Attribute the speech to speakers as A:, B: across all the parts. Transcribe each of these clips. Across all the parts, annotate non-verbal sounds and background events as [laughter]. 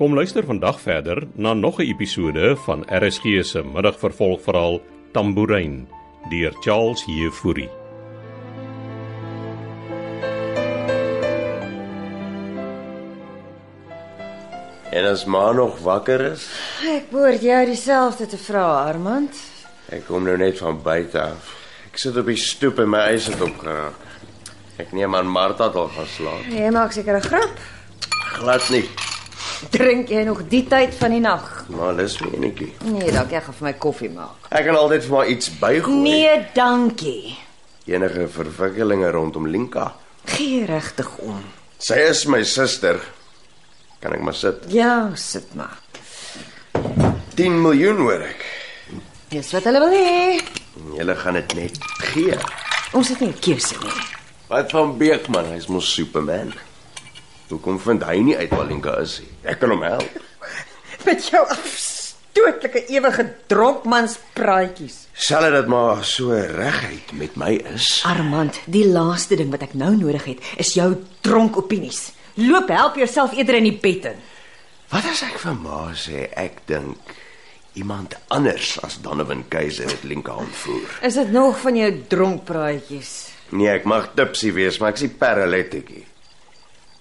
A: Kom luister vandag verder na nog 'n episode van RSG se middagvervolgverhaal Tambourine deur Charles Heffury.
B: En as ma nog wakker is,
C: Ek behoort jou dieselfde te vra, Armand.
B: ek kom nou net van buite af. Ek sit op die stoep en my ys het opgeraak. Ek neem aan Martha het al gaan slaap.
C: Jy maak seker 'n grap.
B: Glad nie,
C: Drink jy nog die tyd van die nag?
B: maar lus my enetjie.
C: Nee, dankie, ek gaan vir my koffie maak.
B: Ek kan altyd vir maar iets bygooi.
C: Nee, dankie.
B: Enige verwikkelinge rondom Linka.
C: Gee regtig om.
B: Sy is my suster. Kan ek maar sit.
C: Ja, sit maar.
B: 10 miljoen hoor ek.
C: Dis wat hulle wil hê.
B: Julle gaan dit net gee.
C: Ons het nie 'n keuse nie.
B: Wat van Beekman, hy's mos Superman. Hoekom vind hy nie uit waar Linka is nie? Ek kan hom help.
C: Met jou afstootlike ewige dronkmanspraatjies.
B: Sal dit maar so reguit met my is.
C: Armand, die laaste ding wat ek nou nodig het, is jou dronk opinies. Loop help jouself eerder in die bed in.
B: Wat as ek vir ma sê ek dink iemand anders as Donovan Keiser het Linka ontvoer?
C: Is dit nog van jou dronkpraatjies?
B: Nee, ek mag tipsy wees, maar ek is paralytikie.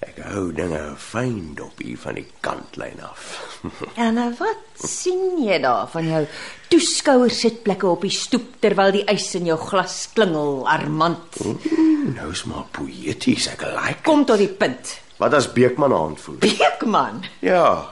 B: Ek hou dinge fyn dop hier van die kantlyn af. [laughs]
C: En nou wat sien jy daar van jou toeskouers sitplekke op die stoep terwyl die ys in jou glas klingel, Armand?
B: nou is maar poëties, ek like.
C: Kom tot die punt.
B: Wat as Beekman haar ontvoer?
C: Beekman,
B: Ja.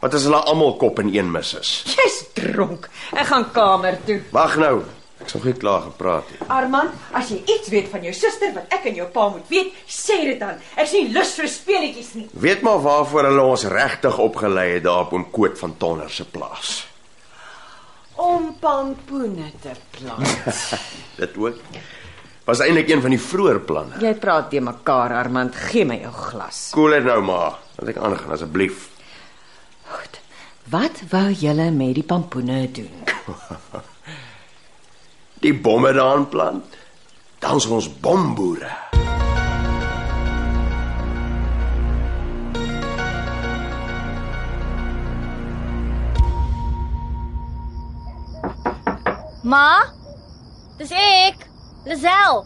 B: Wat as hulle almal kop in een mis is?
C: jy's dronk. Ek gaan kamer toe.
B: Wag nou. Ek's nog nie klaar gepraat nie.
C: Armand, as jy iets weet van jou suster wat ek en jou pa moet weet, sê dit dan. Ek's nie lus vir speletjies nie.
B: Weet maar waarvoor hulle ons regtig opgelei het daar op oom Koot van Tonner se plaas.
C: Om pampoene te plant.
B: Dit ook. Was eintlik een van die vroeë planne.
C: jy praat te mekaar, Armand. Gee my jou glas.
B: Koel dit nou maar. Laat ek aangaan asseblief.
C: Goed. Wat wou julle met die pampoene doen?
B: Die bomme daarin plant. Dan is ons bomboere.
D: Ma? Dis ek, Lisel.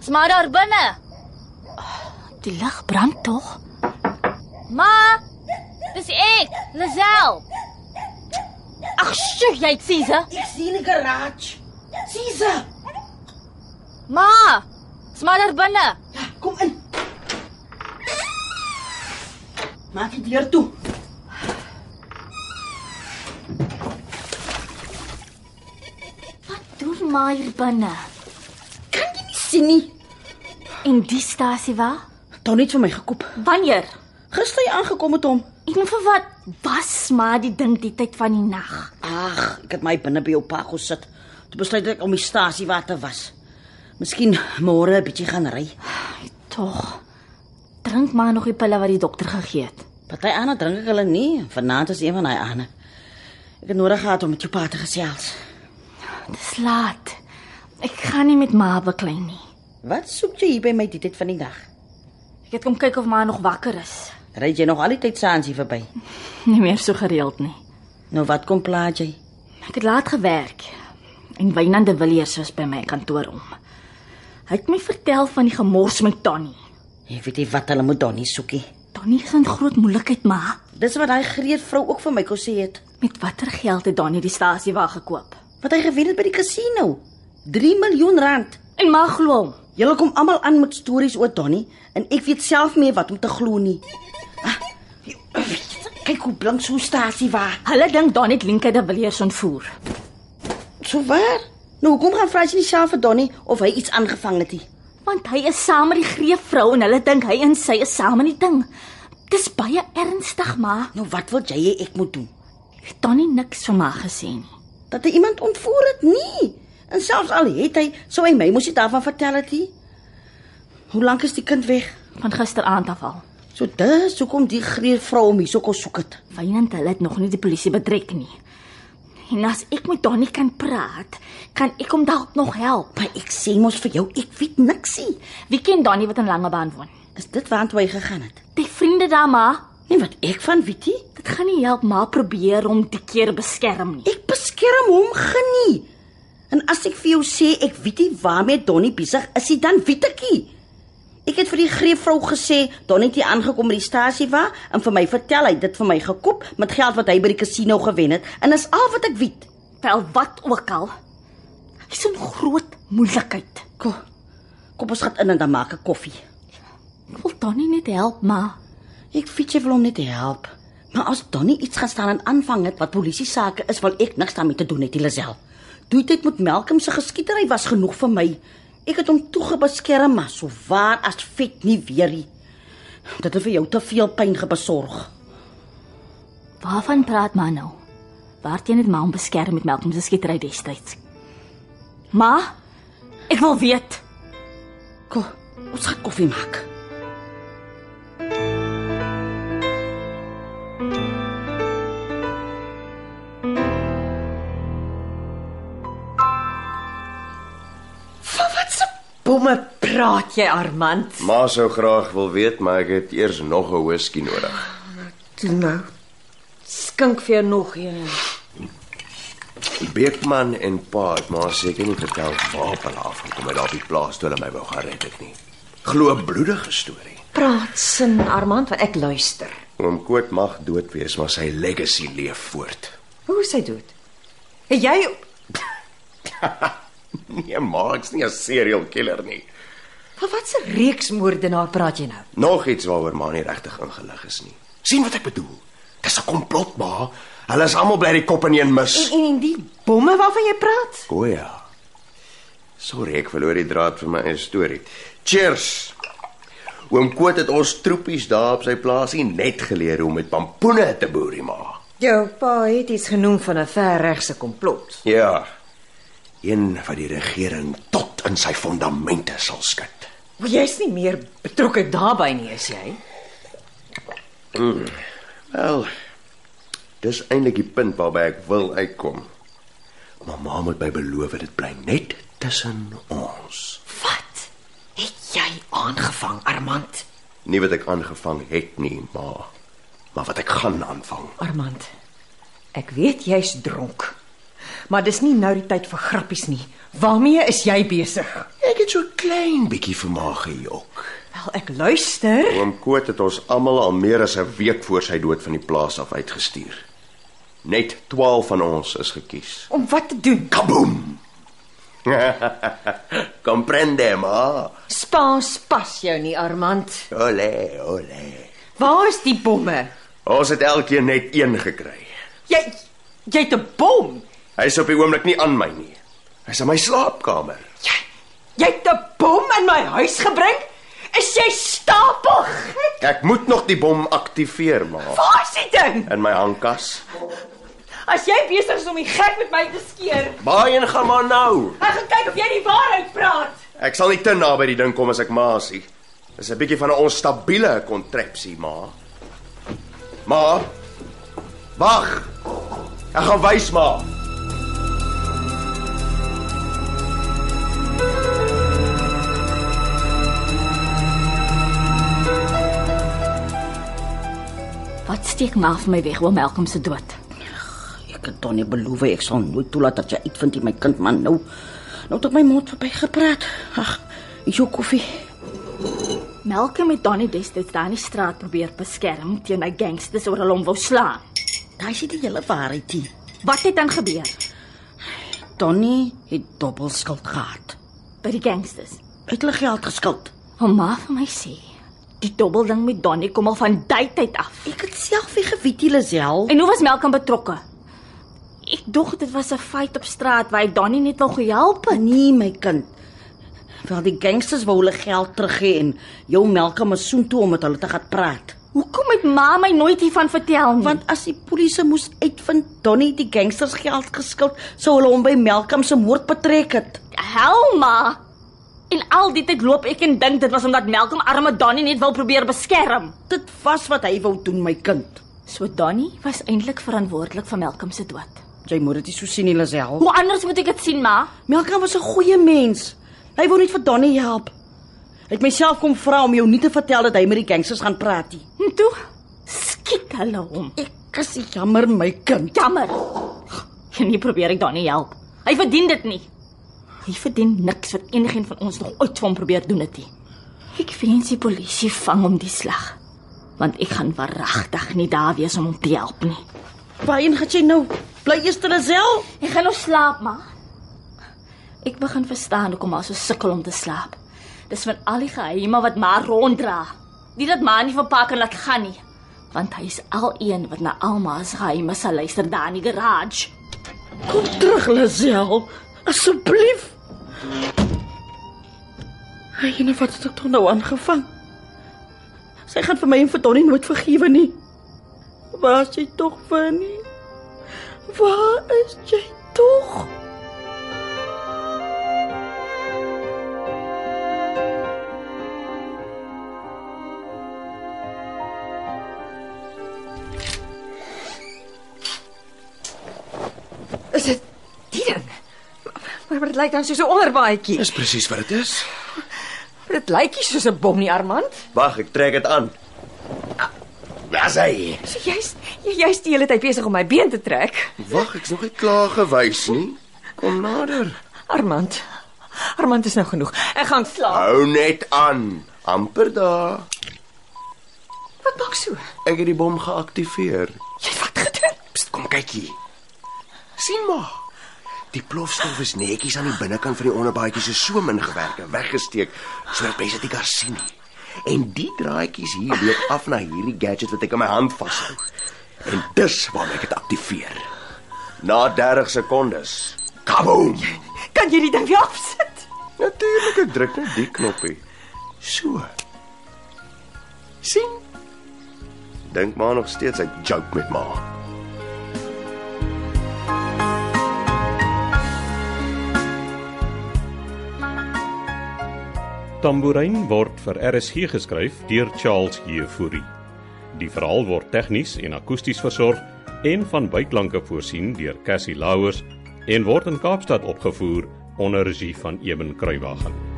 D: Is maar daar binne. Die lig brand tog. Ma? Dis ek, Lisel. Ag, sjoe, jy sien se.
C: Ek sien 'n garage. Sisa,
D: Ma? Is maar daar binne.
C: kom in. Maak die deur toe.
D: Wat doen ma hier binne?
E: sien nie.
D: En die stasie waar?
E: Ton het vir my gekoop.
D: Wanneer?
E: Gister hy aangekom het hom.
D: En vir wat was maar die ding die tyd van die nag?
E: Ag, ek het my binne by jou pa gesit. Toe besluit ek om die stasie waar te was. Miskien môre 'n bietjie gaan ry.
D: Tog. Drink maar nog die pille wat die dokter gegee het.
E: Party ander drink ek hulle nie. Vanaand is een van daai ander. Ek het nodig gehad om met jou pa te gesels.
D: Dis laat. Ek gaan nie met ma beklein nie.
E: Wat soek jy hier by my die tyd van die dag?
D: Ek het kom kyk of ma nog wakker is.
E: Ry jy nog al die tyd saans hier verby?
D: Nie meer so gereeld nie.
E: Nou wat kom plaat jy?
D: Ek het laat gewerk en Wynand de Villiers was by my kantoor om. Hy het my vertel van die gemors met Tannie.
E: Jy weet nie wat hulle moet Donnie soekie.
D: Tannie is in groot moeilikheid, ma.
E: Dis wat daai greet vrou ook vir my kon sê het.
D: Met watter geld het Tannie die stasie wa gekoop?
E: Wat hy gewen het by die casino. 3 miljoen rand.
D: En ma glo hom.
E: Julle kom almal aan met stories oor Donnie en ek weet self nie wat om te glo nie. Ah, kyk hoe blink so stasie waar.
D: Hulle dink Donnie het Linkie de Villiers ontvoer.
E: So waar? Nou hoekom gaan vra jy nie self vir Donnie of hy iets aangevang het nie?
D: Want hy is saam met die greefvrou en hulle dink hy en sy is saam in die ding. Dis baie ernstig, ma.
E: Nou wat wil jy hê ek moet doen?
D: Het Tannie niks van my gesê nie.
E: Dat hy iemand ontvoer het? Nee. En selfs al het hy, sou hy my mos nie daarvan vertel het nie. Hoe lank is die kind weg?
D: Van gisteraand af al.
E: So dis hoekom die greet vrou hom hierso kom soek het.
D: Wynand hulle het nog nie die polisie betrek nie. En as ek met Donnie kan praat, kan ek hom dalk nog help.
E: Maar ek sê mos vir jou, ek weet niksie.
D: Wie ken Donnie wat in Langebaan woon?
E: Is dit waartoe hy gegaan het?
D: Die vriende daar maar.
E: En wat ek van weet nie,
D: Dit gaan nie help maar probeer om te keer beskerm nie.
E: ek beskerm hom genie. En as ek vir jou sê ek weet nie waarmee Donnie besig is nie, dan weet ek nie. Ek het vir die greefvrou gesê Donnie het hier aangekom by die stasie waar en vir my vertel hy het dit vir my gekop met geld wat hy by die casino gewen het en dis al wat ek weet.
D: Wel wat ook al. Hy's in groot moeilikheid.
E: Kom. Kom ons gaan in en dan maak ek koffie.
D: Ek wil Donnie net help, maar
E: Ek weet jy wil hom net help. Maar as Donnie iets gaan staan en aanvang het wat polisie sake is, wil ek niks daarmee te doen het, Lisel. Toe dit met Melkem se geskietery was genoeg vir my. Ek het hom toegebeskerm, maar so waar as vet nie weer nie. Dit het vir jou te veel pyn gebesorg.
D: waarvan praat maar nou? Waarteen het maar hom beskerm met Malcolm se skietery destyds? Ma, ek wil weet.
E: Kom, ons gaan koffie maak.
C: Van wat se bomme praat jy, Armand?
B: Ma sou graag wil weet, maar ek het eers nog 'n whisky nodig.
C: Toe nou. Skink vir jou nog een.
B: Beekman en Pa het maar seker nie vertel waar hulle afgekom het daar op die plaas toe hulle my wou gaan red het nie. Glo 'n bloedige storie.
C: Praat sin, Armand, want ek luister.
B: Oom Koot mag dood wees, maar sy legacy leef voort.
C: Hoe is hy dood? Het jy
B: Nee, maar ek's nie 'n serial killer nie.
C: van wat se reeksmoordenaar praat jy nou?
B: Nog iets waaroor maar nie regtig ingelig is nie. sien wat ek bedoel? Dis 'n komplot, ma. Hulle is almal bly die kop in een mis.
C: En en, en die bomme waarvan jy praat?
B: O ja. Sorry, ek verloor die draad van my eie storie. Cheers. Oom Koot het ons troepies daar op sy plaas nie net geleer hoe om met pampoene te boer, nie, ma.
C: Jou pa het iets genoem van 'n verregse komplot.
B: Ja. Een wat die regering tot in sy fondamente sal skud.
C: Maar jy's nie meer betrokke daarbey nie, is jy?
B: Wel, dis eintlik die punt waarby ek wil uitkom. Mamma moet my beloof dit bly net tussen ons.
C: Wat? Het jy aangevang, Armand?
B: Nie wat ek aangevang het nie, ma, maar wat ek gaan aanvang.
C: Armand. Ek weet jy's dronk. Maar dis nie nou die tyd vir grappies nie. Waarmee is jy besig?
B: Ek het so klein bietjie vermaak gejok.
C: Wel, ek luister.
B: Oom Koot het ons almal al meer as 'n week voor sy dood van die plaas af uitgestuur. Net 12 van ons is gekies.
C: Om wat te doen?
B: Kaboom. Comprende, ma.
C: Spaans pas jou nie, Armand.
B: Ole, ole.
C: Waar is die bomme?
B: Ons het elkeen net een gekry.
C: Jy jy't 'n bom.
B: Hy's op die oomblik nie aan my nie. Hy's in my slaapkamer.
C: Jy jy't 'n bom in my huis gebring? Is jy stapel? gek?
B: Ek moet nog die bom aktiveer maar
C: Waar is die ding?
B: in my hangkas.
C: As jy besig is om die gek met my te skeer,
B: Waarheen gaan maar nou?
C: ek gaan kyk of jy die waarheid praat.
B: Ek sal nie te naby die ding kom as ek maasie. Dis 'n bietjie van 'n onstabiele kontrepsie, ma. Ma. Wag. Ek gaan wys maar.
D: Wat steek maar vir my weg oor Malcolm se dood?
E: Ek het Donnie beloof ek sal nooit toelaat dat jy uitvind jy my kind man nou. Nou het ek my mond verby gepraat. Ag, is jou koffie.
D: Malcolm het Donnie destyds daar in die straat probeer beskerm teen 'n gangsters oor hulle hom wou slaan.
E: Daai is nie die hele waarheid nie.
D: Wat het dan gebeur
E: Donnie het dubbelskuld gehad.
D: by die gangsters?
E: Hy het hulle geld geskuld.
D: Hom ma vir my sê, die dobbelding met Donnie kom al van daai tyd af.
E: Ek het self nie geweet hulle self.
D: En hoe was Malcolm betrokke? Ek dog dit was 'n feit op straat waar hy Donnie net wou gehelp het.
E: Nee, my kind. Wel die gangsters wou hulle geld teruggee en jou Melkem is soontoe om met hulle te gaan praat.
D: Hoekom het ma my nooit hiervan vertel nie?
E: Want as die polisie moes uitvind Donnie het die gangsters geld geskuld, sou hulle hom by Melkem se moord betrek het.
D: Helma. En al die tyd loop ek en dink dit was omdat Malcolm arme Donnie net wil probeer beskerm.
E: Dit was wat hy wou doen, my kind.
D: So Donnie was eintlik verantwoordelik vir Malcolm se dood.
E: Jy moet dit nie so sien, Lisel.
D: Hoe anders moet ek dit sien, ma?
E: Melkem was 'n goeie mens. Hy wou net vir Donnie help. Hy het myself kom vra om jou nie te vertel dat hy met die gangsters gaan praat nie.
D: En Hm, toe skiet het hulle hom.
E: Ek is jammer my kind.
D: Jammer. En nie probeer ek Donnie help. Hy verdien dit nie. Hy verdien niks wat enigiemand van ons nog ooit vir hom probeer doen het nie. Ek wens die polisie vang hom die slag. Want ek gaan waaragtig nie daar wees om hom te help nie.
E: Waarheen gaan jy nou? Bly eers ter self.
D: Ek gaan nog slaap, ma. Ek begin verstaan hoekom maar so sukkel om te slaap. Dis van al die geheime wat maar ronddra. Nie dat maar nie vir pa kan laat gaan nie, want hy is al een wat na Alma se geheime sal luister daar in die garage.
E: Kom terug, Lazel. Asseblief. Hy en wat het ek tog nou aangevang? Sy gaan vir my en vir Donnie nooit vergewe nie. Waar is jy tog, Fanny? Waar is jy tog?
F: Is dit die ding? Maar maar dit lyk dan soos 'n onderbaadjie.
B: Dis presies wat dit is.
F: Dit lyk nie soos 'n bom nie, Armand.
B: Wag, ek trek dit aan. Waar's hy?
F: So jy's jy- jy's die hele tyd besig om my been te trek.
B: Wag, ek's nog nie klaar gewys nie. Kom nader.
F: Armand. Armand is nou genoeg. Ek gaan slaap.
B: Hou net aan. amper daar.
F: Wat maak so?
B: Ek het die bom geaktiveer.
F: Jy het wat gedoen?
B: Pst, kom kyk hier. sien maar. Die plofstof is netjies aan die binnekant van die onderbaadjie so soom ingewerk en weggesteek sodat mense dit nie kan sien nie. En die draadjies hier loop af na hierdie gadget wat ek in my hand vashou. En dis waarmee ek dit aktiveer. Na 30 sekondes. Kaboom.
F: Kan jy die ding weer afsit?
B: Natuurlik ek druk net die knoppie. So. sien. Dink maar nog steeds ek joke met my.
A: Tambourine word vir RSG geskryf deur Charles Jefouri. Die verhaal word tegnies en akoesties versorg en van byklanke voorsien deur Cassie Lauers en word in Kaapstad opgevoer onder regie van Eben Kruiwagen.